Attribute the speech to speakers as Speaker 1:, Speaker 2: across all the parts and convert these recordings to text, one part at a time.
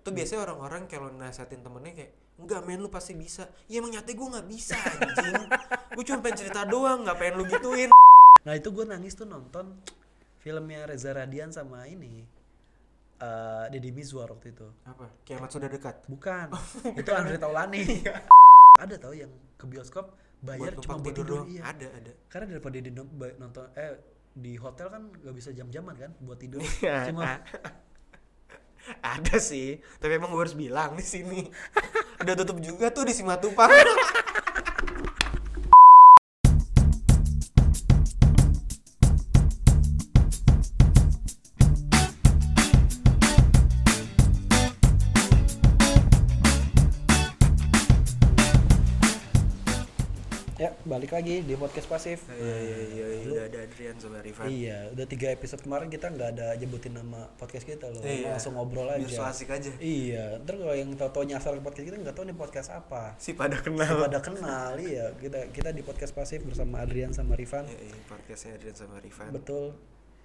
Speaker 1: tuh biasanya orang-orang kalau nasehatin temennya kayak enggak men lu pasti bisa ya emang nyatanya gue nggak bisa anjing gue cuma pengen cerita doang nggak pengen lu gituin
Speaker 2: Nah itu gue nangis tuh nonton filmnya Reza Radian sama ini eh Deddy Mizwar waktu itu.
Speaker 1: apa kiamat sudah dekat
Speaker 2: Bukan,
Speaker 1: Oh,
Speaker 2: itu Andre Taulani. ada tau yang ke bioskop bayar
Speaker 1: Iya. Buat
Speaker 2: cuma
Speaker 1: numpang
Speaker 2: buat
Speaker 1: tidur
Speaker 2: tidur.
Speaker 1: doang.
Speaker 2: Iya.
Speaker 1: ada ada
Speaker 2: Karena daripada di no- ba- nonton eh di hotel kan gak bisa jam-jaman kan buat tidur.
Speaker 1: Iya.
Speaker 2: cuma
Speaker 1: ada sih tapi emang gue harus bilang di sini udah tutup juga tuh di Simatupang Iya,
Speaker 2: ya balik lagi di podcast pasif. Nah,
Speaker 1: iya iya iya udah ada Adrian sama Rifan
Speaker 2: Iya, udah tiga episode kemarin kita nggak ada nyebutin nama podcast kita loh,
Speaker 1: Iya.
Speaker 2: langsung ngobrol
Speaker 1: biar so
Speaker 2: aja.
Speaker 1: asik aja
Speaker 2: Iya, ntar kalau yang tahu-tahu nyasar ke podcast kita nggak tahu nih podcast apa.
Speaker 1: si pada
Speaker 2: Kalau
Speaker 1: kenal
Speaker 2: ada kenal iya kita kita di podcast pasif bersama Adrian sama Rifan
Speaker 1: Iya, iya, podcastnya Adrian sama Rifan
Speaker 2: betul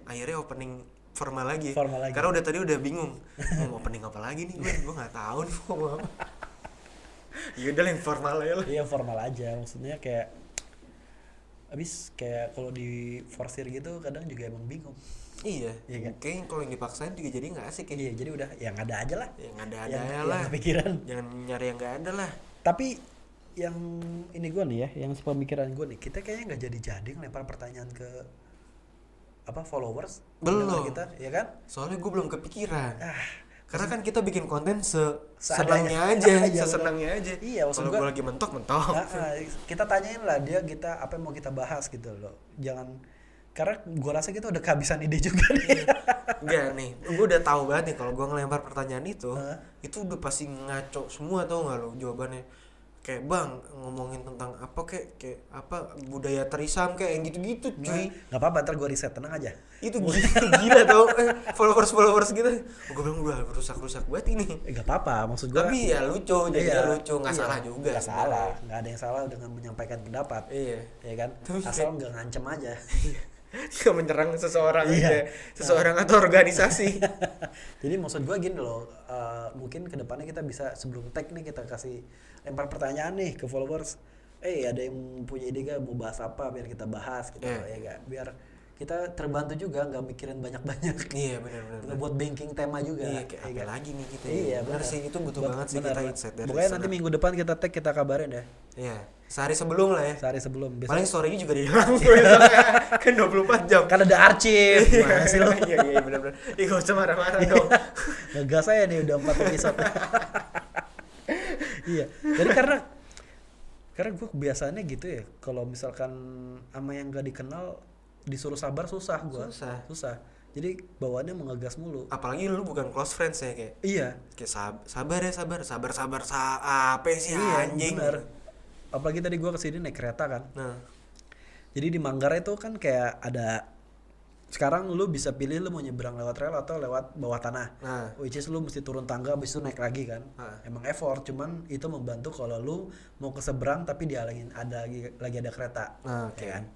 Speaker 1: akhirnya opening formal lagi.
Speaker 2: Formal lagi.
Speaker 1: Karena udah tadi udah bingung mau opening apa lagi nih gue, gue nggak tahu nih mau ngomong apa. Ya udah lah, yang formal aja lah.
Speaker 2: iya formal aja maksudnya kayak abis kayak kalau di forsir gitu kadang juga emang bingung
Speaker 1: Iya.
Speaker 2: Iya kan?
Speaker 1: Kayaknya kalau yang dipaksain juga jadi nggak asik ya.
Speaker 2: iya jadi udah yang ada aja lah
Speaker 1: Yang ada ada
Speaker 2: yang,
Speaker 1: ya
Speaker 2: yang
Speaker 1: lah.
Speaker 2: nggak pikiran
Speaker 1: Jangan nyari yang nggak ada lah.
Speaker 2: tapi yang ini gua nih ya yang sepemikiran gua nih kita kayaknya nggak jadi jadi ngelempar pertanyaan ke apa followers
Speaker 1: Belum.
Speaker 2: pendengar kita ya kan
Speaker 1: Soalnya gue belum kepikiran.
Speaker 2: ah
Speaker 1: Karena kan kita bikin konten se
Speaker 2: Seadanya.
Speaker 1: senangnya aja,
Speaker 2: Iya,
Speaker 1: sesenangnya aja.
Speaker 2: Iya, maksud
Speaker 1: Kalau
Speaker 2: gua-
Speaker 1: gue lagi mentok mentok.
Speaker 2: Nah, ah, kita tanyain lah dia kita apa yang mau kita bahas gitu loh. Jangan karena gua rasa kita udah kehabisan ide juga nih.
Speaker 1: Iya. Enggak nih, gue udah tahu banget nih kalau gue ngelempar pertanyaan itu,
Speaker 2: Hah?
Speaker 1: itu udah pasti ngaco semua tau nggak lo jawabannya. Kayak bang ngomongin tentang apa kayak kayak apa budaya terisam kayak yang gitu-gitu cuy.
Speaker 2: Gak apa-apa ntar gua riset tenang aja.
Speaker 1: Itu gila, gila tau eh, followers followers gitu. Gue bilang udah rusak rusak banget ini.
Speaker 2: Eh, gak apa-apa maksud gua.
Speaker 1: Tapi ya lucu,
Speaker 2: Iya,
Speaker 1: jadi lucu nggak
Speaker 2: iya.
Speaker 1: salah juga.
Speaker 2: Nggak
Speaker 1: sebenarnya.
Speaker 2: salah, nggak ada yang salah dengan menyampaikan pendapat.
Speaker 1: Iya.
Speaker 2: Ya kan?
Speaker 1: Tapi
Speaker 2: Asal nggak ngancem aja.
Speaker 1: Nggak menyerang seseorang
Speaker 2: Iya.
Speaker 1: aja, seseorang atau organisasi.
Speaker 2: Jadi maksud gua gini loh, eh, mungkin kedepannya kita bisa sebelum tag nih kita kasih lempar pertanyaan nih ke followers. Eh ada yang punya ide gak mau bahas apa biar kita bahas gitu
Speaker 1: Iya.
Speaker 2: ya gak? Biar kita terbantu juga nggak mikirin banyak-banyak.
Speaker 1: iya benar-benar.
Speaker 2: Kita buat banking tema juga.
Speaker 1: Iya, kayak
Speaker 2: ya
Speaker 1: apa
Speaker 2: kan?
Speaker 1: lagi nih kita.
Speaker 2: Iya,
Speaker 1: benar
Speaker 2: benar.
Speaker 1: sih itu butuh
Speaker 2: Buat-
Speaker 1: banget sih
Speaker 2: benar,
Speaker 1: kita
Speaker 2: benar.
Speaker 1: insight dari
Speaker 2: Pokoknya
Speaker 1: sana.
Speaker 2: nanti minggu depan kita tag kita kabarin ya.
Speaker 1: Iya, sehari sebelum lah ya.
Speaker 2: Sehari sebelum biasanya.
Speaker 1: Paling sorenya juga dihilang tuh besoknya. kan 24 jam.
Speaker 2: Kan ada arsip. Gimana sih lo? Iya.
Speaker 1: Iya iya benar-benar. Ih gak usah marah-marah dong.
Speaker 2: Ngegas saya nih udah 4 episode. iya. Jadi karena karena gue kebiasaannya gitu ya. Kalau misalkan sama yang gak dikenal disuruh sabar susah gua.
Speaker 1: Susah.
Speaker 2: Susah. Jadi bawaannya mau ngegas mulu.
Speaker 1: Apalagi lu bukan close friends ya kayak
Speaker 2: Iya.
Speaker 1: kayak sab- sabar ya sabar sabar sabar sa apa sih
Speaker 2: Iya,
Speaker 1: Ya, anjing.
Speaker 2: benar. Apalagi tadi gua kesini naik kereta kan.
Speaker 1: Nah,
Speaker 2: Jadi di Manggarai itu kan kayak ada sekarang lu bisa pilih lu mau nyebrang lewat rel atau lewat bawah tanah.
Speaker 1: nah.
Speaker 2: Which is Oh, lu mesti turun tangga habis itu naik lagi kan.
Speaker 1: Ah.
Speaker 2: Emang effort cuman itu membantu kalau lu mau ke seberang tapi dialangin ada lagi, lagi ada kereta.
Speaker 1: Nah, oke.
Speaker 2: ya kan?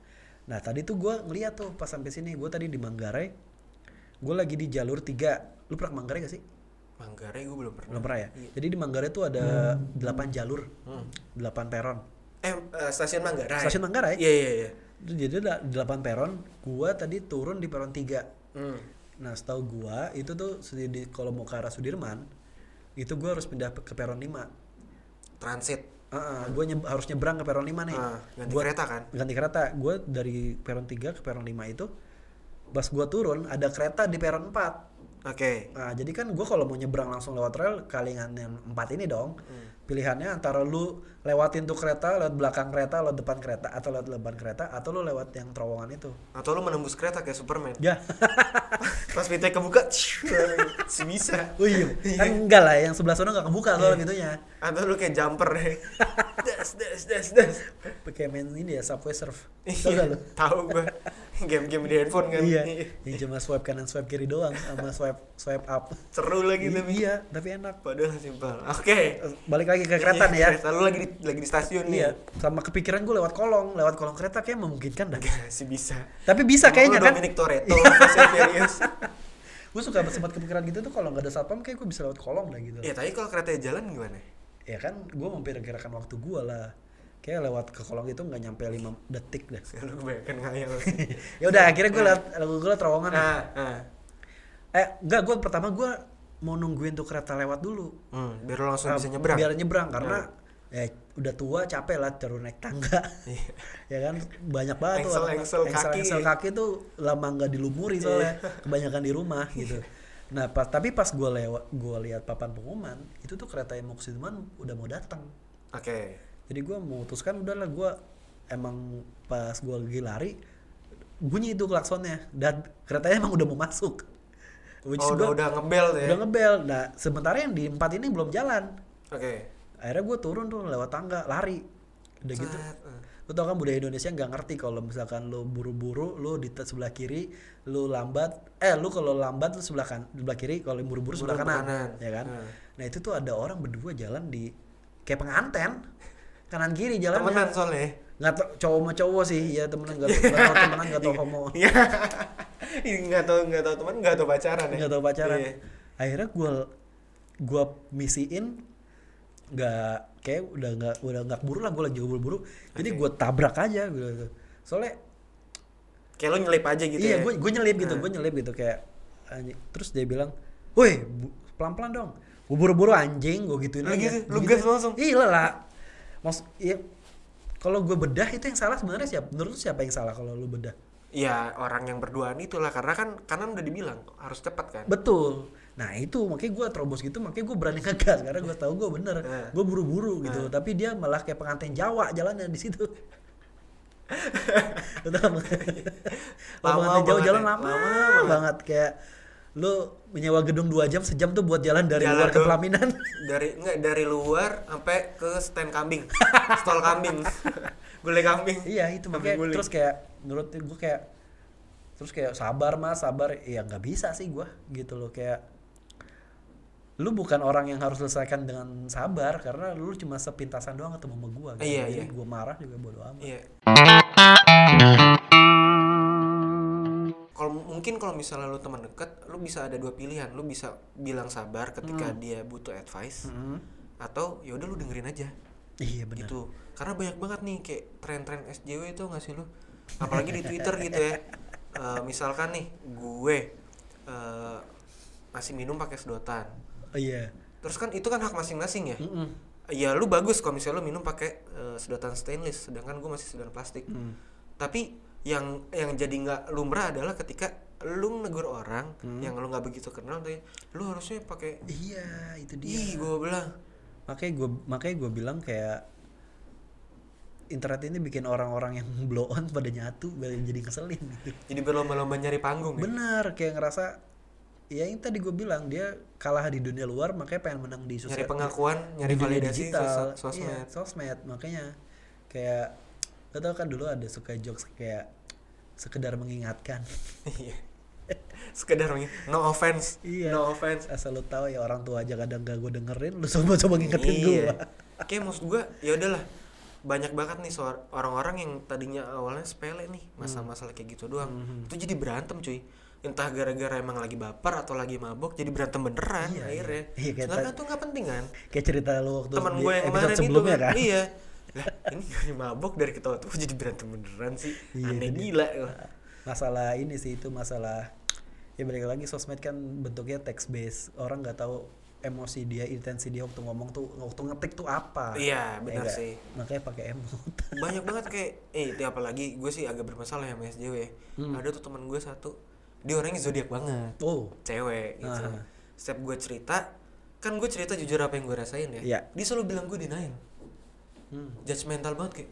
Speaker 2: Nah, tadi tuh gua ngeliat tuh pas sampai sini gua tadi di Manggarai. Gua lagi di jalur 3. Lu pernah ke Manggarai gak sih?
Speaker 1: Manggarai gue belum pernah.
Speaker 2: Belum pernah ya. Jadi di Manggarai tuh ada 8 jalur. 8 peron.
Speaker 1: Eh, eh, stasiun Manggarai.
Speaker 2: Stasiun Manggarai.
Speaker 1: Iya iya iya.
Speaker 2: Itu Jadi ada 8 peron, gua tadi turun di peron 3.
Speaker 1: Hmm.
Speaker 2: Nah, setahu gua itu tuh sedi- di kalau mau ke arah Sudirman, itu gua harus pindah pe- ke peron 5.
Speaker 1: Transit.
Speaker 2: Heeh, gua nyeb- harus nyebrang ke peron 5 nih.
Speaker 1: Ah, ganti
Speaker 2: Gua-
Speaker 1: kereta kan?
Speaker 2: Ganti kereta. Gua dari peron 3 ke peron 5 itu pas gua turun ada kereta di peron 4.
Speaker 1: Oke.
Speaker 2: Nah, jadi kan gua kalau mau nyebrang langsung lewat rel kalingan yang 4 ini dong.
Speaker 1: Hmm.
Speaker 2: Pilihannya antara lu lewatin tuh kereta, lewat belakang kereta, lewat depan kereta atau lewat depan kereta atau lu lewat yang terowongan itu.
Speaker 1: Atau lu menembus kereta kayak Superman.
Speaker 2: Ya.
Speaker 1: Pas pintunya kebuka, sebisa.
Speaker 2: Oh iya, kan enggak lah yang sebelah sana enggak kebuka soalnya
Speaker 1: Iya.
Speaker 2: pintunya.
Speaker 1: Atau lu kayak jumper deh. das das das das.
Speaker 2: Pakai main ini ya subway surf. Tahu
Speaker 1: Iya,
Speaker 2: gak lu?
Speaker 1: Tahu gua. Game-game di handphone kan.
Speaker 2: Iya. Yang cuma swipe kanan swipe kiri doang sama swipe swipe up.
Speaker 1: Seru lagi tapi.
Speaker 2: iya, tapi enak.
Speaker 1: Padahal simpel. Oke. Iya,
Speaker 2: Eh, Balik lagi ke kereta nih ya.
Speaker 1: Kereta lu lagi di lagi di stasiun nih.
Speaker 2: Iya, sama kepikiran gue lewat kolong, lewat kolong kereta kayak memungkinkan dah.
Speaker 1: Masih bisa.
Speaker 2: Tapi bisa
Speaker 1: Emang
Speaker 2: kayaknya
Speaker 1: lu
Speaker 2: kan.
Speaker 1: Dominic Toretto, Fast and Furious.
Speaker 2: gue suka sempat kepikiran gitu tuh kalau nggak ada satpam kayak gue bisa lewat kolong dah gitu
Speaker 1: ya tapi kalau kereta jalan gimana
Speaker 2: ya kan gue memperkirakan waktu gue lah kayak lewat ke kolong itu nggak nyampe 5 detik dah
Speaker 1: lu kebanyakan ngayal sih
Speaker 2: ya udah akhirnya gue liat gue liat terowongan lah.
Speaker 1: nah, nah.
Speaker 2: eh enggak gue pertama gue mau nungguin tuh kereta lewat dulu
Speaker 1: Hmm, biar lu langsung bisa
Speaker 2: Eh,
Speaker 1: nyebrang Nah.
Speaker 2: biar nyebrang karena ya udah tua capek lah terus naik tangga
Speaker 1: Iya.
Speaker 2: ya kan banyak banget tuh
Speaker 1: Engsel-
Speaker 2: orang-
Speaker 1: engsel
Speaker 2: engsel-
Speaker 1: kaki. Iya.
Speaker 2: engsel kaki tuh lama nggak dilumuri soalnya kebanyakan di rumah gitu nah pas tapi pas gue lewat gue lihat papan pengumuman itu tuh kereta yang mau ke Sudirman udah mau datang
Speaker 1: oke
Speaker 2: jadi gue memutuskan udahlah gue emang pas gue lagi lari bunyi itu klaksonnya dan keretanya emang udah mau masuk which
Speaker 1: oh,
Speaker 2: gua-
Speaker 1: udah, udah ngebel tuh ya
Speaker 2: udah ngebel nah sementara yang di empat ini belum jalan
Speaker 1: oke
Speaker 2: akhirnya gue turun tuh lewat tangga lari udah gitu
Speaker 1: Set, eh.
Speaker 2: lo tau kan budaya Indonesia nggak ngerti kalau misalkan lo buru-buru lo di te- sebelah kiri lo lambat eh lo kalau lambat lo sebelah kan sebelah kiri kalau buru-buru sebelah
Speaker 1: Buru
Speaker 2: kanan,
Speaker 1: kanan.
Speaker 2: ya kan
Speaker 1: Hmm.
Speaker 2: nah itu tuh ada orang berdua jalan di kayak penganten kanan kiri jalan
Speaker 1: temenan soalnya
Speaker 2: nggak tau cowok sama cowok sih ya temenan nggak tau nggak tau temenan nggak tau homo
Speaker 1: Iya. Ih, nggak tau nggak tau teman nggak tau pacaran ya
Speaker 2: nggak tau pacaran
Speaker 1: Iya.
Speaker 2: akhirnya gue gue misiin nggak kayak udah nggak udah nggak buru lah gue lagi buru buru jadi gue tabrak aja gitu soalnya
Speaker 1: kayak lu nyelip aja gitu
Speaker 2: iya
Speaker 1: ya
Speaker 2: gue gue nyelip gitu gue nyelip gitu kayak anjing. terus dia bilang woi pelan pelan dong gue buru buru anjing gue gituin
Speaker 1: Lu
Speaker 2: aja
Speaker 1: gitu? Lu
Speaker 2: Gua
Speaker 1: gas
Speaker 2: gituin.
Speaker 1: langsung?
Speaker 2: iya lah maksud iya kalau gue bedah itu yang salah sebenarnya siapa menurut lu siapa yang salah kalau lu bedah
Speaker 1: ya orang yang berduaan itulah karena kan kanan udah dibilang harus cepat kan
Speaker 2: Betul. Nah itu makanya gue terobos gitu makanya gue berani ngegas karena gue tahu gue bener.
Speaker 1: Eh.
Speaker 2: Gue buru-buru gitu. Tapi dia malah kayak pengantin Jawa jalannya di situ. Lu tau nggak?
Speaker 1: Lama
Speaker 2: Kalau pengantin Jawa
Speaker 1: banget
Speaker 2: jalan
Speaker 1: ya.
Speaker 2: lama,
Speaker 1: Lama
Speaker 2: banget. kayak lu menyewa gedung dua jam sejam tuh buat jalan dari
Speaker 1: Jalan
Speaker 2: luar ke
Speaker 1: tuh.
Speaker 2: pelaminan.
Speaker 1: dari nggak dari luar sampai ke stand kambing stall kambing gulai kambing
Speaker 2: iya itu
Speaker 1: Kambing
Speaker 2: makanya
Speaker 1: guling.
Speaker 2: terus kayak menurut gue kayak terus kayak sabar mas sabar ya nggak bisa sih gue gitu loh kayak lu bukan orang yang harus selesaikan dengan sabar karena lu cuma sepintasan doang ketemu sama gue gitu.
Speaker 1: Iya, iya.
Speaker 2: jadi gue marah juga bodo amat
Speaker 1: Iya. Kalau mungkin kalau misalnya lu teman deket, lu bisa ada dua pilihan. Lu bisa bilang sabar ketika dia butuh advice
Speaker 2: Mm.
Speaker 1: atau ya udah lu dengerin aja
Speaker 2: iya benar
Speaker 1: gitu. Karena banyak banget nih kayak tren-tren SJW itu nggak sih lu? Apalagi di Twitter gitu ya. Eh, misalkan nih gue eh, masih minum pakai sedotan.
Speaker 2: iya
Speaker 1: Terus kan itu kan hak masing-masing ya.
Speaker 2: Mm-mm.
Speaker 1: Ya lu bagus kalau misalnya lu minum pakai eh, sedotan stainless sedangkan gue masih sedotan plastik
Speaker 2: Mm.
Speaker 1: tapi yang yang jadi nggak lumrah adalah ketika lu negur orang
Speaker 2: Hmm.
Speaker 1: yang lu nggak begitu kenal tuh lu harusnya pakai
Speaker 2: iya itu dia
Speaker 1: ih gue bilang
Speaker 2: makanya gue makanya gue bilang kayak internet ini bikin orang-orang yang blow on pada nyatu pada jadi ngeselin gitu
Speaker 1: jadi berlomba-lomba nyari panggung ya?
Speaker 2: Benar, kayak ngerasa ya yang tadi gue bilang dia kalah di dunia luar makanya pengen menang di
Speaker 1: nyari
Speaker 2: sosial
Speaker 1: pengakuan nyari
Speaker 2: di dunia
Speaker 1: validasi sos-
Speaker 2: Iya,
Speaker 1: sosmed
Speaker 2: sosmed makanya kayak lo tau kan dulu ada suka jokes kayak sekedar mengingatkan
Speaker 1: iya sekedar mengi- no offense
Speaker 2: Iya.
Speaker 1: no offense
Speaker 2: asal lo tahu ya orang tua aja kadang gak gue dengerin lo coba-coba ngingetin gue
Speaker 1: iya. kayak maksud gue ya udahlah banyak banget nih soal orang-orang yang tadinya awalnya sepele nih masalah-masalah kayak gitu doang
Speaker 2: Hmm.
Speaker 1: itu jadi berantem cuy entah gara-gara emang lagi baper atau lagi mabok jadi berantem beneran
Speaker 2: Iya,
Speaker 1: akhirnya
Speaker 2: iya. Iya, kayak
Speaker 1: Sebenarnya
Speaker 2: tadi-
Speaker 1: kan tuh nggak penting kan
Speaker 2: kayak cerita lo waktu
Speaker 1: teman
Speaker 2: di
Speaker 1: gue yang
Speaker 2: episode
Speaker 1: kemarin itu
Speaker 2: sebelumnya
Speaker 1: kan,
Speaker 2: kan
Speaker 1: iya lah ini dari mabok dari ketawa tuh jadi berantem beneran sih
Speaker 2: Iya,
Speaker 1: aneh
Speaker 2: itu dia.
Speaker 1: gila
Speaker 2: masalah ini sih itu masalah ya balik lagi sosmed kan bentuknya text based orang nggak tahu emosi dia intensi dia waktu ngomong tuh waktu ngetik tuh apa
Speaker 1: Iya,
Speaker 2: Ya
Speaker 1: benar
Speaker 2: nggak?
Speaker 1: sih.
Speaker 2: makanya pakai emot
Speaker 1: banyak banget kayak eh itu apalagi gue sih agak bermasalah ya sama SJW ya.
Speaker 2: Hmm.
Speaker 1: ada tuh teman gue satu dia orangnya zodiak banget
Speaker 2: oh
Speaker 1: cewek gitu.
Speaker 2: Ah.
Speaker 1: Setiap gue cerita, kan gue cerita jujur apa yang gue rasain ya.
Speaker 2: Iya.
Speaker 1: Dia selalu bilang gue denial.
Speaker 2: Hmm.
Speaker 1: Judgmental banget kayak,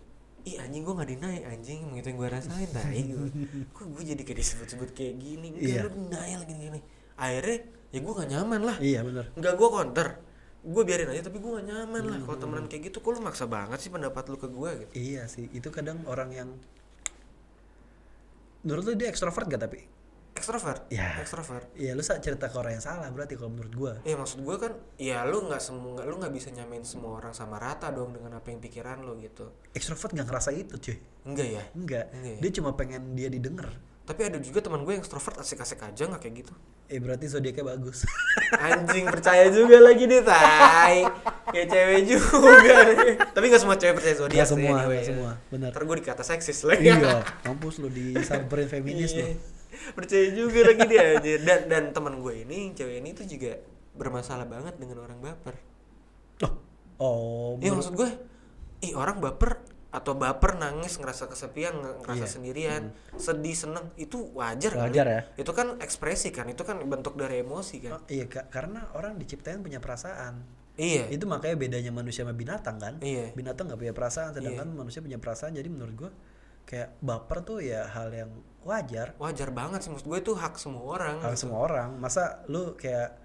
Speaker 1: ih anjing gue gak denial, anjing emang itu yang gue rasain, tai gue. Kok gue jadi kayak disebut-sebut kayak gini, enggak
Speaker 2: Iya.
Speaker 1: lu denial gini-gini. Akhirnya, ya gue gak nyaman lah.
Speaker 2: iya bener
Speaker 1: Enggak gue counter. Gue biarin aja tapi gue gak nyaman lah.
Speaker 2: Hmm.
Speaker 1: Kalau temenan kayak gitu, kok lu maksa banget sih pendapat lu ke gue gitu.
Speaker 2: iya sih itu kadang orang yang menurut lu dia ekstrovert gak tapi
Speaker 1: Extrovert,
Speaker 2: Iya.
Speaker 1: extrovert.
Speaker 2: ya lu sa- cerita ke orang yang salah berarti kalau menurut gua
Speaker 1: Ya maksud gue kan, ya lu nggak semua, lu nggak bisa nyamain semua orang sama rata dong dengan apa yang pikiran lu gitu.
Speaker 2: ekstrovert nggak ngerasa itu cuy
Speaker 1: Enggak ya?
Speaker 2: enggak
Speaker 1: Enggak ya?
Speaker 2: dia cuma pengen dia didengar
Speaker 1: tapi ada juga teman gue yang extrovert asik-asik aja nggak kayak gitu
Speaker 2: Eh berarti zodiaknya bagus.
Speaker 1: anjing percaya juga lagi deh tai kayak cewek juga nih. tapi nggak semua cewek percaya zodiak
Speaker 2: Nggak
Speaker 1: sih,
Speaker 2: semua,
Speaker 1: anyway,
Speaker 2: nggak
Speaker 1: ya.
Speaker 2: semua, benar.
Speaker 1: ntar gue dikata seksis lagi
Speaker 2: iya, kampus lu disamperin feminis
Speaker 1: Iya.
Speaker 2: lu.
Speaker 1: percaya juga lagi dia anjir. dan dan teman gue ini cewek ini tuh juga bermasalah banget dengan orang baper
Speaker 2: Loh. Oh,
Speaker 1: Iya
Speaker 2: menurut-
Speaker 1: maksud gue, ih orang baper atau baper nangis ngerasa kesepian nge- ngerasa
Speaker 2: Iya.
Speaker 1: sendirian sedih seneng itu wajar kali.
Speaker 2: Wajar ya.
Speaker 1: itu kan ekspresi kan itu kan bentuk dari emosi kan
Speaker 2: Oh, iya, Kak, karena orang diciptain punya perasaan.
Speaker 1: iya
Speaker 2: Itu makanya bedanya manusia sama binatang kan.
Speaker 1: Iya.
Speaker 2: Binatang nggak punya perasaan, sedangkan manusia punya perasaan. Jadi menurut gua kayak baper tuh ya hal yang wajar.
Speaker 1: wajar banget sih maksud gue itu hak semua orang
Speaker 2: Hal semua orang. Masa lu kayak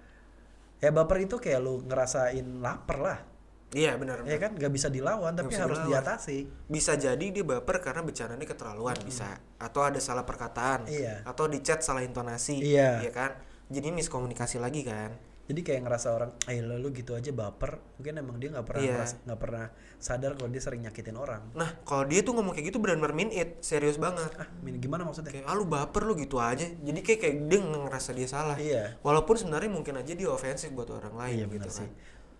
Speaker 2: ya baper itu kayak lu ngerasain lapar lah.
Speaker 1: iya benar
Speaker 2: Ya kan nggak bisa dilawan tapi
Speaker 1: bisa
Speaker 2: harus
Speaker 1: dilawan.
Speaker 2: diatasi.
Speaker 1: bisa jadi dia baper karena bercandanya keterlaluan bisa atau ada salah perkataan
Speaker 2: Hmm. Iya.
Speaker 1: atau di chat salah intonasi
Speaker 2: Iya.
Speaker 1: kan jadi miskomunikasi lagi kan
Speaker 2: Jadi kayak ngerasa orang, eh lo lu gitu aja baper, mungkin emang dia nggak pernah
Speaker 1: Iya.
Speaker 2: ngeras- nggak pernah sadar kalau dia sering nyakitin orang.
Speaker 1: nah kalau dia tuh ngomong kayak gitu benar-benar mean it serius banget
Speaker 2: Ah, min- gimana maksudnya?
Speaker 1: kayak ah lu baper lu gitu aja jadi kayak kayak dia ngerasa dia salah
Speaker 2: Iya.
Speaker 1: walaupun sebenarnya mungkin aja dia ofensif buat orang lain
Speaker 2: Iya
Speaker 1: gitu
Speaker 2: benar
Speaker 1: kan
Speaker 2: sih.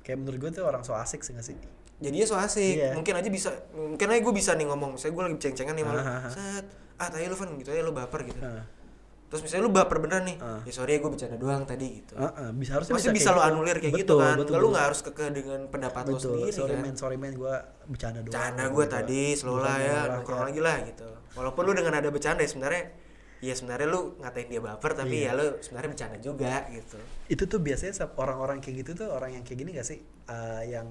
Speaker 2: Kayak menurut gue tuh orang so asik sih nggak sih?
Speaker 1: jadinya so asik
Speaker 2: Iya.
Speaker 1: mungkin aja bisa mungkin aja gue bisa nih ngomong misalnya gue lagi ceng-cengan nih malu
Speaker 2: Ah, ah, ah.
Speaker 1: set ah tadi lu fan gitu ya lu baper gitu
Speaker 2: Heeh.
Speaker 1: terus misalnya lu baper beneran nih
Speaker 2: Ah.
Speaker 1: ya sorry ya gue bercanda doang tadi gitu
Speaker 2: Heeh, bisa harusnya
Speaker 1: pasti bisa,
Speaker 2: kayak
Speaker 1: lo
Speaker 2: gitu.
Speaker 1: anulir kayak gitu
Speaker 2: Betul,
Speaker 1: kan
Speaker 2: betul,
Speaker 1: lu
Speaker 2: betul.
Speaker 1: nggak harus keke dengan pendapat lo
Speaker 2: betul.
Speaker 1: sendiri
Speaker 2: Sorry
Speaker 1: kan
Speaker 2: men, sorry men, gue bercanda doang.
Speaker 1: bercanda
Speaker 2: Gitu,
Speaker 1: gue
Speaker 2: gua-
Speaker 1: tadi slow lah
Speaker 2: bukan
Speaker 1: ya
Speaker 2: marah,
Speaker 1: nongkrong lagi lah gitu walaupun lu dengan ada bercanda ya sebenarnya ya sebenarnya lu ngatain dia baper tapi
Speaker 2: Iya.
Speaker 1: ya lu sebenarnya bercanda juga gitu
Speaker 2: Itu tuh biasanya sep- orang-orang kayak gitu tuh orang yang kayak gini gak sih? Eh, yang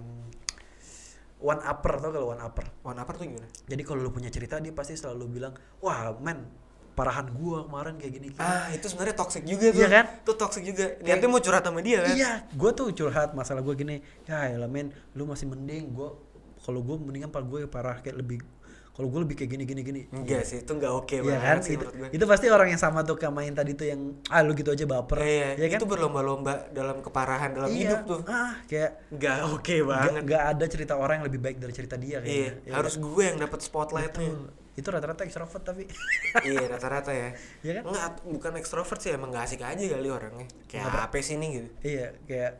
Speaker 2: one upper tau kalau one upper.
Speaker 1: one upper tuh gimana
Speaker 2: Jadi kalau lu punya cerita dia pasti selalu bilang, wah men, parahan gua kemarin kayak gini.
Speaker 1: ah itu sebenarnya toxic juga tuh
Speaker 2: Iya kan?
Speaker 1: tuh toxic juga niatnya mau curhat sama dia kan
Speaker 2: Iya, gue tuh curhat masalah gue gini. Ya elah men, lu masih mending gue kalau gue mendingan pak gue parah kayak lebih kalau gue lebih kayak gini gini gini.
Speaker 1: enggak sih itu nggak oke
Speaker 2: Iya
Speaker 1: banget
Speaker 2: kan?
Speaker 1: sih
Speaker 2: Itu,
Speaker 1: menurut gue
Speaker 2: itu pasti orang yang sama tuh kayak main tadi tuh yang ah lu gitu aja baper.
Speaker 1: Iya,
Speaker 2: Iya kan?
Speaker 1: itu berlomba-lomba dalam keparahan dalam hidup tuh
Speaker 2: Ah, kayak
Speaker 1: nggak oke
Speaker 2: nggak
Speaker 1: banget
Speaker 2: nggak ada cerita orang yang lebih baik dari cerita dia
Speaker 1: iya
Speaker 2: kayaknya. Iya
Speaker 1: harus gue yang dapat spotlightnya
Speaker 2: kan? Itu rata-rata extrovert tapi
Speaker 1: iya rata-rata ya
Speaker 2: Iya kan?
Speaker 1: Nggak, bukan ekstrovert sih emang gak asik aja kali orangnya kayak apa sih ini gitu
Speaker 2: Iya, kayak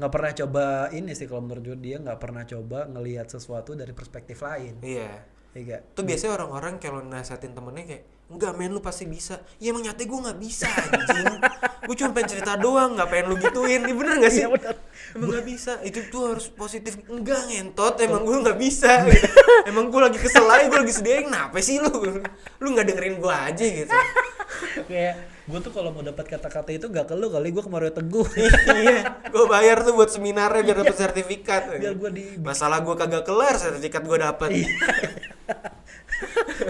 Speaker 2: nggak pernah coba ini sih kalau menurut gue dia nggak pernah coba ngelihat sesuatu dari perspektif lain.
Speaker 1: iya
Speaker 2: Iya nggak?
Speaker 1: tuh biasanya orang-orang kalau nasehatin temennya kayak enggak men lu pasti bisa ya emang nyatanya gue nggak bisa anjing gue cuma pengen cerita doang nggak pengen lu gituin ini bener gak sih
Speaker 2: Iya, bener.
Speaker 1: emang nggak bisa itu tuh harus positif enggak ngentot emang gue nggak bisa gitu. emang gue lagi kesel aja gue lagi sedih aja, kenapa sih lu lu nggak dengerin gue aja gitu
Speaker 2: kayak gue tuh kalau mau dapat kata-kata itu gak ke lu kali gue kemarin teguh
Speaker 1: iya gue bayar tuh buat seminarnya biar dapet sertifikat
Speaker 2: Iya. biar gue di
Speaker 1: masalah gue kagak kelar sertifikat gue dapet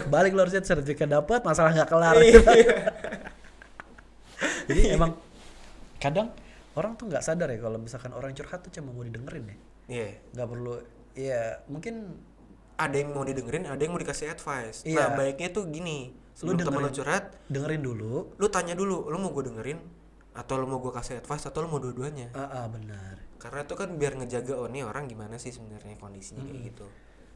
Speaker 2: balik lo harusnya sertifikat dapat masalah nggak kelar
Speaker 1: Iya.
Speaker 2: jadi emang kadang orang tuh nggak sadar ya kalau misalkan orang curhat tuh cuma mau didengerin ya
Speaker 1: iya
Speaker 2: nggak perlu ya mungkin
Speaker 1: ada yang mau didengerin ada yang mau dikasih advice nah
Speaker 2: Iya.
Speaker 1: baiknya tuh gini sebelum temen lu
Speaker 2: dengerin.
Speaker 1: curhat
Speaker 2: dengerin dulu
Speaker 1: lu tanya dulu lu mau gue dengerin atau lu mau gue kasih advice atau lu mau dua-duanya
Speaker 2: ah, ah benar
Speaker 1: karena itu kan biar ngejaga oh nih orang gimana sih sebenarnya kondisinya
Speaker 2: Hmm.
Speaker 1: kayak gitu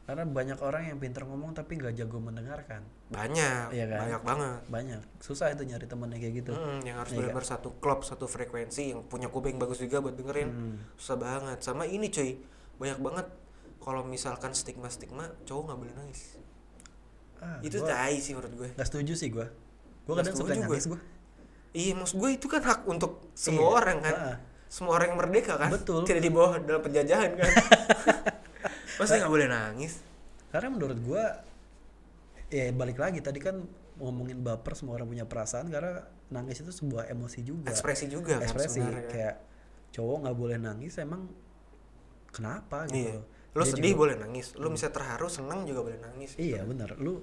Speaker 2: karena banyak orang yang pinter ngomong tapi nggak jago mendengarkan
Speaker 1: banyak
Speaker 2: Iya kan?
Speaker 1: banyak banget
Speaker 2: banyak susah itu nyari temennya kayak gitu
Speaker 1: Mm, yang harus benar satu klop satu frekuensi yang punya kuping bagus juga buat dengerin
Speaker 2: Hmm.
Speaker 1: susah banget sama ini cuy banyak banget kalau misalkan stigma stigma cowok nggak boleh nangis
Speaker 2: ah,
Speaker 1: itu tai sih menurut gue
Speaker 2: nggak setuju sih gue gue
Speaker 1: Nggak
Speaker 2: kadang suka
Speaker 1: setuju gua.
Speaker 2: nangis gue
Speaker 1: Iya, maksud gue itu kan hak untuk semua
Speaker 2: Iya,
Speaker 1: orang kan.
Speaker 2: heeh.
Speaker 1: Semua orang yang merdeka kan.
Speaker 2: Betul.
Speaker 1: Tidak di bawah dalam penjajahan kan. Masa nggak boleh nangis?
Speaker 2: Karena menurut gua ya balik lagi tadi kan ngomongin baper semua orang punya perasaan karena nangis itu sebuah emosi juga.
Speaker 1: Ekspresi juga kan
Speaker 2: Ekspresi
Speaker 1: sebenarnya.
Speaker 2: kayak cowok nggak boleh nangis emang kenapa
Speaker 1: Iya.
Speaker 2: gitu. loh.
Speaker 1: Lo
Speaker 2: Dia
Speaker 1: sedih
Speaker 2: juga- Hmm.
Speaker 1: boleh nangis, lo bisa terharu, senang juga boleh nangis. gitu.
Speaker 2: Iya benar. Lu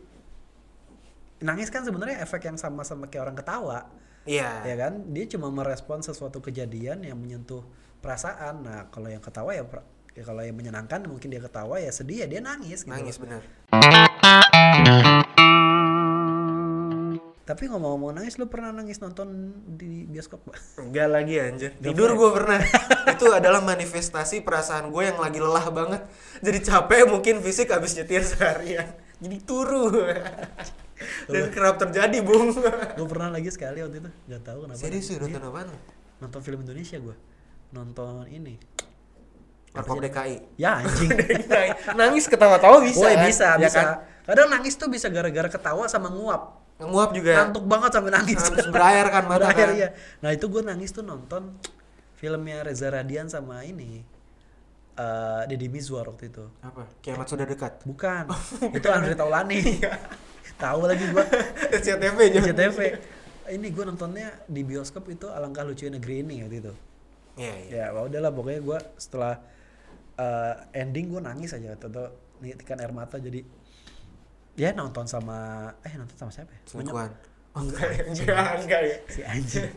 Speaker 2: nangis kan sebenarnya efek yang sama sama kayak orang ketawa. Ya
Speaker 1: Iya.
Speaker 2: kan? Dia cuma merespon sesuatu kejadian yang menyentuh perasaan. Nah, kalau yang ketawa ya, per- ya kalau yang menyenangkan mungkin dia ketawa ya sedih ya dia nangis gitu.
Speaker 1: Nangis benar.
Speaker 2: Tapi ngomong-ngomong nangis, lu pernah nangis nonton di bioskop gak?
Speaker 1: Enggak lagi anjir. Tidur gue pernah. itu adalah manifestasi perasaan gue yang lagi lelah banget. Jadi capek mungkin fisik habis nyetir seharian. Jadi turu. dan kerap terjadi bung
Speaker 2: gue pernah lagi sekali waktu itu nggak tahu kenapa
Speaker 1: serius
Speaker 2: Iya,
Speaker 1: lu nonton apaan lu?
Speaker 2: nonton film Indonesia gue nonton ini
Speaker 1: Orkop DKI
Speaker 2: ya anjing
Speaker 1: nangis ketawa-tawa bisa kan?
Speaker 2: Woi Oh, bisa
Speaker 1: Ya
Speaker 2: bisa
Speaker 1: kan?
Speaker 2: kadang nangis tuh bisa gara-gara ketawa sama nguap
Speaker 1: nguap juga
Speaker 2: Iya. ngantuk banget sampai nangis
Speaker 1: Harus berair kan mata
Speaker 2: Berair,
Speaker 1: kan?
Speaker 2: iya. nah itu gue nangis tuh nonton filmnya Reza Radian sama ini eh Deddy Mizwar waktu itu
Speaker 1: apa kiamat sudah dekat
Speaker 2: Oh, bukan Iya. itu Andre Taulani tahu lagi gue
Speaker 1: CTV aja
Speaker 2: JTV ini gue nontonnya di bioskop itu alangkah lucunya negeri ini waktu itu
Speaker 1: iya iya
Speaker 2: ya wah udahlah pokoknya gue setelah eh, ending gue nangis aja atau nitikan air mata jadi ya nonton sama eh nonton sama siapa ya?
Speaker 1: selingkuhan Oh, enggak, enggak, enggak ya.
Speaker 2: si anjing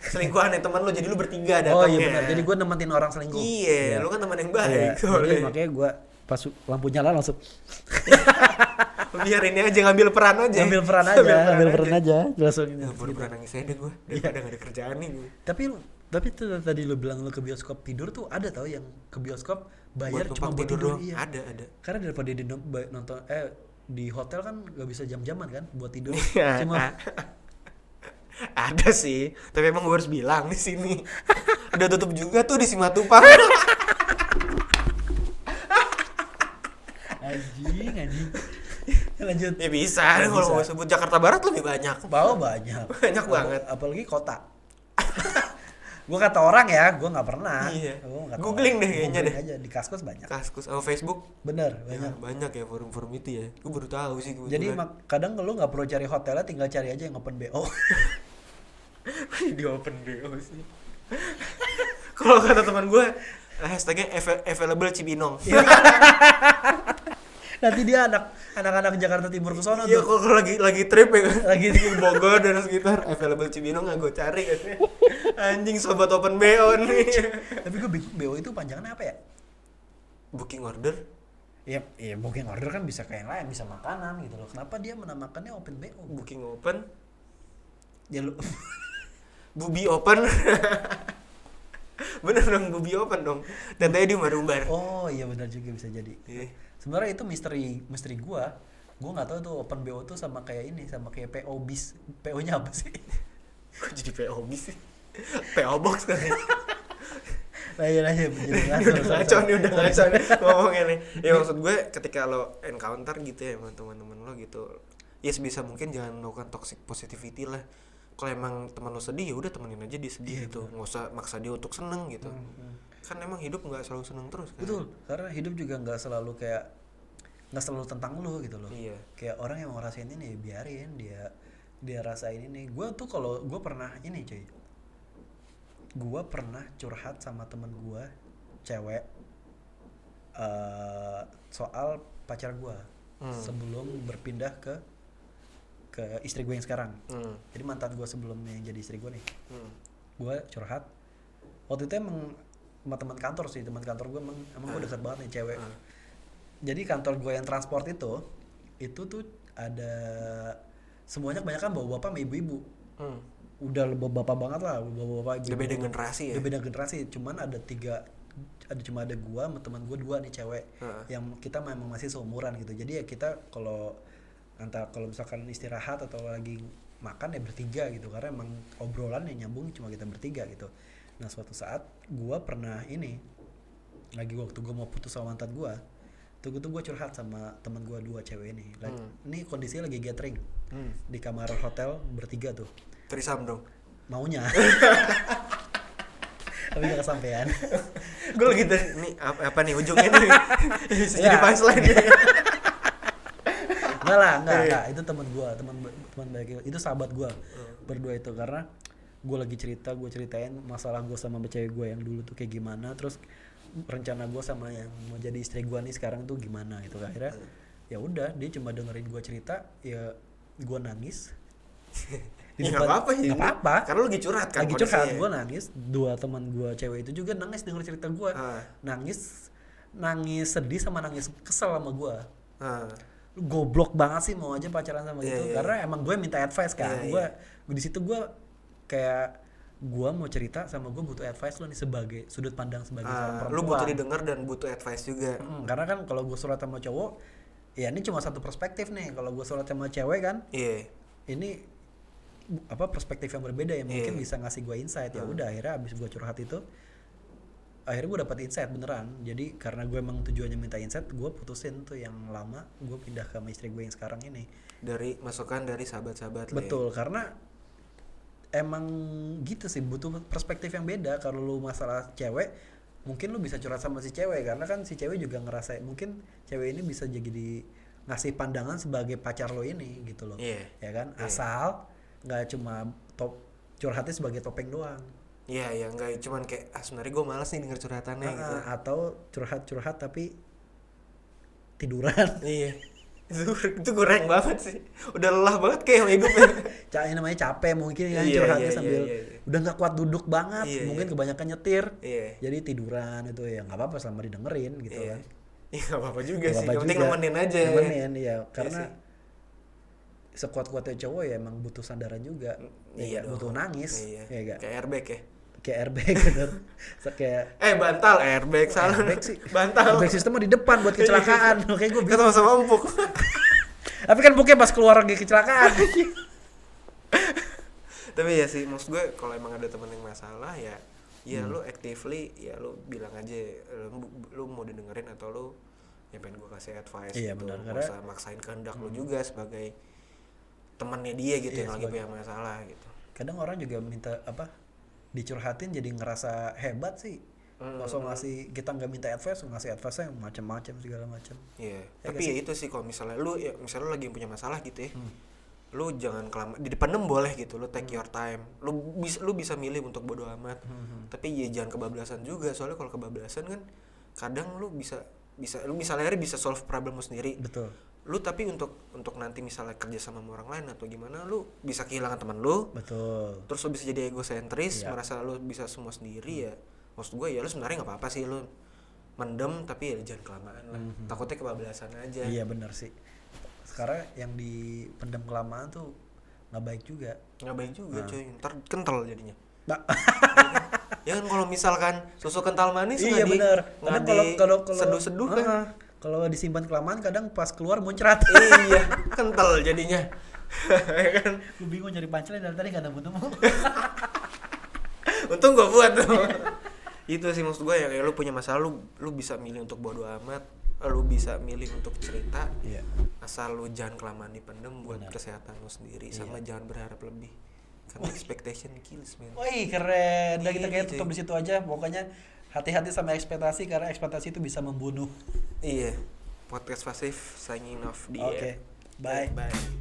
Speaker 1: Selingkuhan ya teman lu, jadi lu bertiga datangnya.
Speaker 2: oh iya benar jadi gue nemenin orang selingkuh
Speaker 1: Iya,
Speaker 2: Iya.
Speaker 1: lu kan teman yang
Speaker 2: Iya,
Speaker 1: baik.
Speaker 2: jadi
Speaker 1: soalnya.
Speaker 2: makanya gue pas lampu nyala langsung
Speaker 1: Biar ini aja ngambil peran aja.
Speaker 2: ambil peran aja ambil peran aja langsung
Speaker 1: Ya ampun,
Speaker 2: gitu.
Speaker 1: pernah nangis aja deh gue. Daripada nggak ada kerjaan nih gue.
Speaker 2: tapi lu- tapi tuh yang tadi lu bilang lu ke bioskop tidur tuh ada tau yang ke bioskop bayar cuma buat tidur,
Speaker 1: doang.
Speaker 2: iya
Speaker 1: Ada, ada.
Speaker 2: karena daripada di no- ba- nonton eh di hotel kan gak bisa jam-jaman kan buat tidur
Speaker 1: Iya.
Speaker 2: cuma
Speaker 1: ada sih, tapi emang gue harus bilang di sini. Udah tutup juga tuh di Simatupang.
Speaker 2: anjing anjing lanjut
Speaker 1: ya bisa,
Speaker 2: Ya
Speaker 1: kalau
Speaker 2: bisa.
Speaker 1: mau sebut Jakarta Barat lebih banyak.
Speaker 2: bawa banyak
Speaker 1: Banyak
Speaker 2: Apa-
Speaker 1: banget.
Speaker 2: apalagi kota gue kata orang ya gue nggak pernah
Speaker 1: Iya.
Speaker 2: Gua nggak kata
Speaker 1: Googling
Speaker 2: orang.
Speaker 1: deh kayaknya
Speaker 2: Googling
Speaker 1: deh.
Speaker 2: aja di kaskus banyak
Speaker 1: Kaskus sama Facebook
Speaker 2: bener
Speaker 1: banyak
Speaker 2: banyak
Speaker 1: banyak ya forum-forum itu ya. Gue baru tahu sih kebetulan.
Speaker 2: jadi mak- kadang lu nggak perlu cari hotelnya tinggal cari aja yang open bo
Speaker 1: di open BO sih. kalau kata teman gue, hashtagnya av- available Cibinong.
Speaker 2: Iya, kan nanti dia anak anak-anak Jakarta Timur ke sono
Speaker 1: Iya
Speaker 2: tuh
Speaker 1: kalau kalau lagi lagi trip ya kan.
Speaker 2: Lagi-
Speaker 1: di Bogor dan sekitar available Cibinong nggak gue cari katanya. Anjing sobat open BO nih.
Speaker 2: tapi gue bingung bo itu panjangannya apa ya
Speaker 1: Booking order
Speaker 2: Iya, iya booking order kan bisa kayak yang lain, bisa makanan gitu loh. Kenapa dia menamakannya open BO?
Speaker 1: booking open,
Speaker 2: Ya lu
Speaker 1: bubi open. Bener dong bubi open dong. Dan tadi umbar umbar.
Speaker 2: Oh, iya benar juga bisa jadi.
Speaker 1: Iya.
Speaker 2: Sebenarnya itu misteri misteri gua. Gua nggak tahu tuh open BO tuh sama kayak ini, sama kayak PO bis. PO-nya apa sih?
Speaker 1: Kok jadi PO bis sih? PO box kan.
Speaker 2: Nah, iya lah, iya, jadi
Speaker 1: Ini
Speaker 2: ngaco,
Speaker 1: udah
Speaker 2: sorry,
Speaker 1: ngaco
Speaker 2: sorry.
Speaker 1: nih udah ngaco nih ngomongnya nih. Ya maksud gue ketika lo encounter gitu ya sama teman-teman lo gitu. Ya sebisa mungkin jangan melakukan toxic positivity lah. Kalau emang teman lo sedih ya udah temenin aja dia
Speaker 2: Iya,
Speaker 1: sedih gitu. Nggak usah maksa dia untuk seneng gitu. Kan emang hidup nggak selalu seneng terus kan.
Speaker 2: Hmm, Betul, karena hidup juga nggak selalu kayak nggak selalu tentang lu gitu loh.
Speaker 1: Iya.
Speaker 2: Kayak orang yang mau ngerasain ini ya biarin dia dia rasain ini. Gua tuh kalau gua pernah ini cuy. Gua pernah curhat sama temen gua cewek eh soal pacar gua sebelum berpindah ke ke istri gue yang sekarang.
Speaker 1: Hmm.
Speaker 2: Jadi mantan gua sebelumnya yang jadi istri gua nih
Speaker 1: Hmm.
Speaker 2: gue curhat waktu itu emang sama teman kantor sih teman kantor gue emang emang
Speaker 1: Ah.
Speaker 2: gue deket banget nih cewek jadi kantor gue yang transport itu itu tuh ada semuanya kebanyakan bawa bapak sama ibu-ibu
Speaker 1: Hmm.
Speaker 2: udah bawa bapak banget lah bawa bapak ibu
Speaker 1: Udah beda generasi ya.
Speaker 2: udah beda generasi cuman ada tiga ada cuma ada gua sama teman gua dua nih cewek
Speaker 1: Heeh.
Speaker 2: yang kita memang masih seumuran gitu jadi ya kita kalau antara kalau misalkan istirahat atau lagi makan ya bertiga gitu karena emang obrolan yang nyambung cuma kita bertiga gitu nah suatu saat gua pernah ini lagi waktu gua mau putus sama mantan gua tuh tuh gua curhat sama teman gua dua cewek ini Lagi- ini kondisinya lagi gathering
Speaker 1: Hmm.
Speaker 2: di kamar hotel bertiga tuh
Speaker 1: Trisam dong.
Speaker 2: maunya tapi gak kesampean
Speaker 1: gue lagi dari nih apa, apa nih ujungnya nih. Bisa jadi
Speaker 2: Iya.
Speaker 1: punchline ya.
Speaker 2: enggak lah enggak
Speaker 1: Iya.
Speaker 2: enggak itu teman gua teman teman baik gua. itu sahabat gua
Speaker 1: Hmm.
Speaker 2: berdua itu karena gua lagi cerita gua ceritain masalah gua sama cewek gua yang dulu tuh kayak gimana terus rencana gua sama yang mau jadi istri gua nih sekarang tuh gimana gitu akhirnya
Speaker 1: Hmm.
Speaker 2: ya udah dia cuma dengerin gua cerita ya gua nangis
Speaker 1: Ya, nggak apa-apa ya.
Speaker 2: Nggak apa-apa.
Speaker 1: Karena lu lagi curhat kan.
Speaker 2: lagi curhat
Speaker 1: kondisinya.
Speaker 2: gue nangis dua teman gue cewek itu juga nangis denger cerita gue
Speaker 1: Ah.
Speaker 2: nangis nangis sedih sama nangis kesel sama gue
Speaker 1: Ah.
Speaker 2: lu goblok banget sih mau aja pacaran sama
Speaker 1: Iya,
Speaker 2: gitu
Speaker 1: iya,
Speaker 2: karena emang gue minta advice
Speaker 1: Iya,
Speaker 2: kan gue di situ gue kayak gue mau cerita sama gue butuh advice lo nih sebagai sudut pandang sebagai
Speaker 1: Ah,
Speaker 2: seorang
Speaker 1: lu
Speaker 2: perempuan
Speaker 1: butuh didengar dan butuh advice juga.
Speaker 2: Mm, karena kan kalau gue surat sama cowok ya ini cuma satu perspektif nih kalau gue sholat sama cewek kan
Speaker 1: iya
Speaker 2: ini bu- apa perspektif yang berbeda ya mungkin
Speaker 1: Iya.
Speaker 2: bisa ngasih gue insight ya udah akhirnya abis gue curhat itu akhirnya gue dapat insight beneran jadi karena gue emang tujuannya minta insight gue putusin tuh yang lama gue pindah ke sama istri gue yang sekarang ini
Speaker 1: dari masukan dari sahabat-sahabat lo ya.
Speaker 2: betul karena emang gitu sih butuh perspektif yang beda kalau lu masalah cewek mungkin lu bisa curhat sama si cewek karena kan si cewek juga ngerasa mungkin cewek ini bisa jadi di- ngasih pandangan sebagai pacar lo ini gitu loh
Speaker 1: Iya.
Speaker 2: ya kan asal nggak cuma top curhatnya sebagai topeng doang
Speaker 1: Iya, iya, nggak cuman kayak ah sebenarnya gue malas nih denger curhatannya gitu.
Speaker 2: Ah, atau curhat-curhat tapi tiduran
Speaker 1: Iya. Itu, itu kurang banget sih. Udah lelah banget kayak sama hidupnya.
Speaker 2: Ca- ini namanya capek mungkin kan
Speaker 1: Iya,
Speaker 2: curhatnya
Speaker 1: iya,
Speaker 2: sambil
Speaker 1: iya, iya.
Speaker 2: udah nggak kuat duduk banget
Speaker 1: Iya,
Speaker 2: mungkin
Speaker 1: iya.
Speaker 2: kebanyakan nyetir
Speaker 1: Iya.
Speaker 2: jadi tiduran itu ya nggak apa-apa selama didengerin Ya, gitu
Speaker 1: Iya.
Speaker 2: kan
Speaker 1: Iya, nggak apa-apa juga
Speaker 2: Nggak
Speaker 1: sih.
Speaker 2: apa-apa
Speaker 1: Yang penting
Speaker 2: juga.
Speaker 1: nemenin aja. Iya
Speaker 2: nemenin ya karena
Speaker 1: sih.
Speaker 2: sekuat-kuatnya cowok ya emang butuh sandaran juga
Speaker 1: Iya
Speaker 2: ya,
Speaker 1: dong.
Speaker 2: butuh nangis
Speaker 1: Iya.
Speaker 2: ya nggak?
Speaker 1: Kayak airbag ya.
Speaker 2: kayak airbag bener Se- kayak
Speaker 1: Eh, bantal airbag salah.
Speaker 2: airbag sih
Speaker 1: bantal. Iya.
Speaker 2: airbag sistem mah di depan buat kecelakaan oke gue
Speaker 1: Kita sama-sama empuk.
Speaker 2: tapi kan pokoknya pas keluar lagi kecelakaan
Speaker 1: Iya. Tapi ya sih, maksud gue kalau emang ada temen yang masalah ya ya
Speaker 2: Hmm.
Speaker 1: lu actively ya lu bilang aja lu, lu mau didengerin atau lu ya pengen gue kasih advice
Speaker 2: Iya,
Speaker 1: gitu.
Speaker 2: benar,
Speaker 1: Nggak
Speaker 2: karena- Hmm.
Speaker 1: usah maksain kehendak lu juga sebagai temannya dia gitu
Speaker 2: Iya,
Speaker 1: yang lagi
Speaker 2: sebagai-
Speaker 1: punya masalah gitu.
Speaker 2: kadang orang juga minta apa dicurhatin jadi ngerasa hebat sih
Speaker 1: Hmm.
Speaker 2: langsung ngasih kita nggak minta advice ngasih advice yang macam-macam segala macam
Speaker 1: Iya,
Speaker 2: Ya
Speaker 1: tapi ya itu sih kalau misalnya lu ya misalnya lu lagi punya masalah gitu ya.
Speaker 2: Hmm.
Speaker 1: Lu jangan kelama di depan enam boleh gitu, lu take your time. Lu bisa lu bisa milih untuk bodo amat.
Speaker 2: Hmm,
Speaker 1: Tapi ya jangan kebablasan juga, soalnya kalau kebablasan kan kadang lu bisa bisa lu misalnya akhirnya bisa solve problem lu sendiri.
Speaker 2: betul
Speaker 1: Lu tapi untuk untuk nanti misalnya kerja sama sama orang lain atau gimana lu bisa kehilangan teman lu,
Speaker 2: betul
Speaker 1: terus lu bisa jadi egosentris,
Speaker 2: Iya. Hmm.
Speaker 1: merasa lu bisa semua sendiri ya. Maksud gue ya lu sebenarnya nggak apa-apa sih lu mendem tapi ya jangan kelamaan lah. Takutnya kebablasan aja.
Speaker 2: Hmm. iya benar sih sekarang yang dipendam kelamaan tuh nggak baik juga
Speaker 1: nggak baik juga cuy ntar kental jadinya
Speaker 2: Nah,
Speaker 1: ya kan kalau misalkan susu kental manis
Speaker 2: iya
Speaker 1: nggak di-
Speaker 2: benar
Speaker 1: nggak
Speaker 2: kadang kalau kalau kalau
Speaker 1: seduh seduh kan
Speaker 2: Heeh. kalau disimpan kelamaan kadang pas keluar muncrat
Speaker 1: iya kental jadinya Ya kan
Speaker 2: gue bingung nyari pancelan dari tadi nggak nemu nemu
Speaker 1: untung gua buat tuh itu sih maksud gua ya kayak lu punya masalah lu lu bisa milih untuk bodo amat lu bisa milih untuk cerita
Speaker 2: iya
Speaker 1: asal lu jangan kelamaan dipendem buat kesehatan lu sendiri
Speaker 2: Iya.
Speaker 1: sama jangan berharap lebih karena expectation kills man
Speaker 2: Wih keren. Udah kita
Speaker 1: Iya,
Speaker 2: kayak
Speaker 1: gitu.
Speaker 2: tutup di situ aja. Pokoknya hati-hati sama ekspektasi karena ekspektasi itu bisa membunuh.
Speaker 1: iya podcast pasif signing off di
Speaker 2: Oke. Bye.
Speaker 1: bye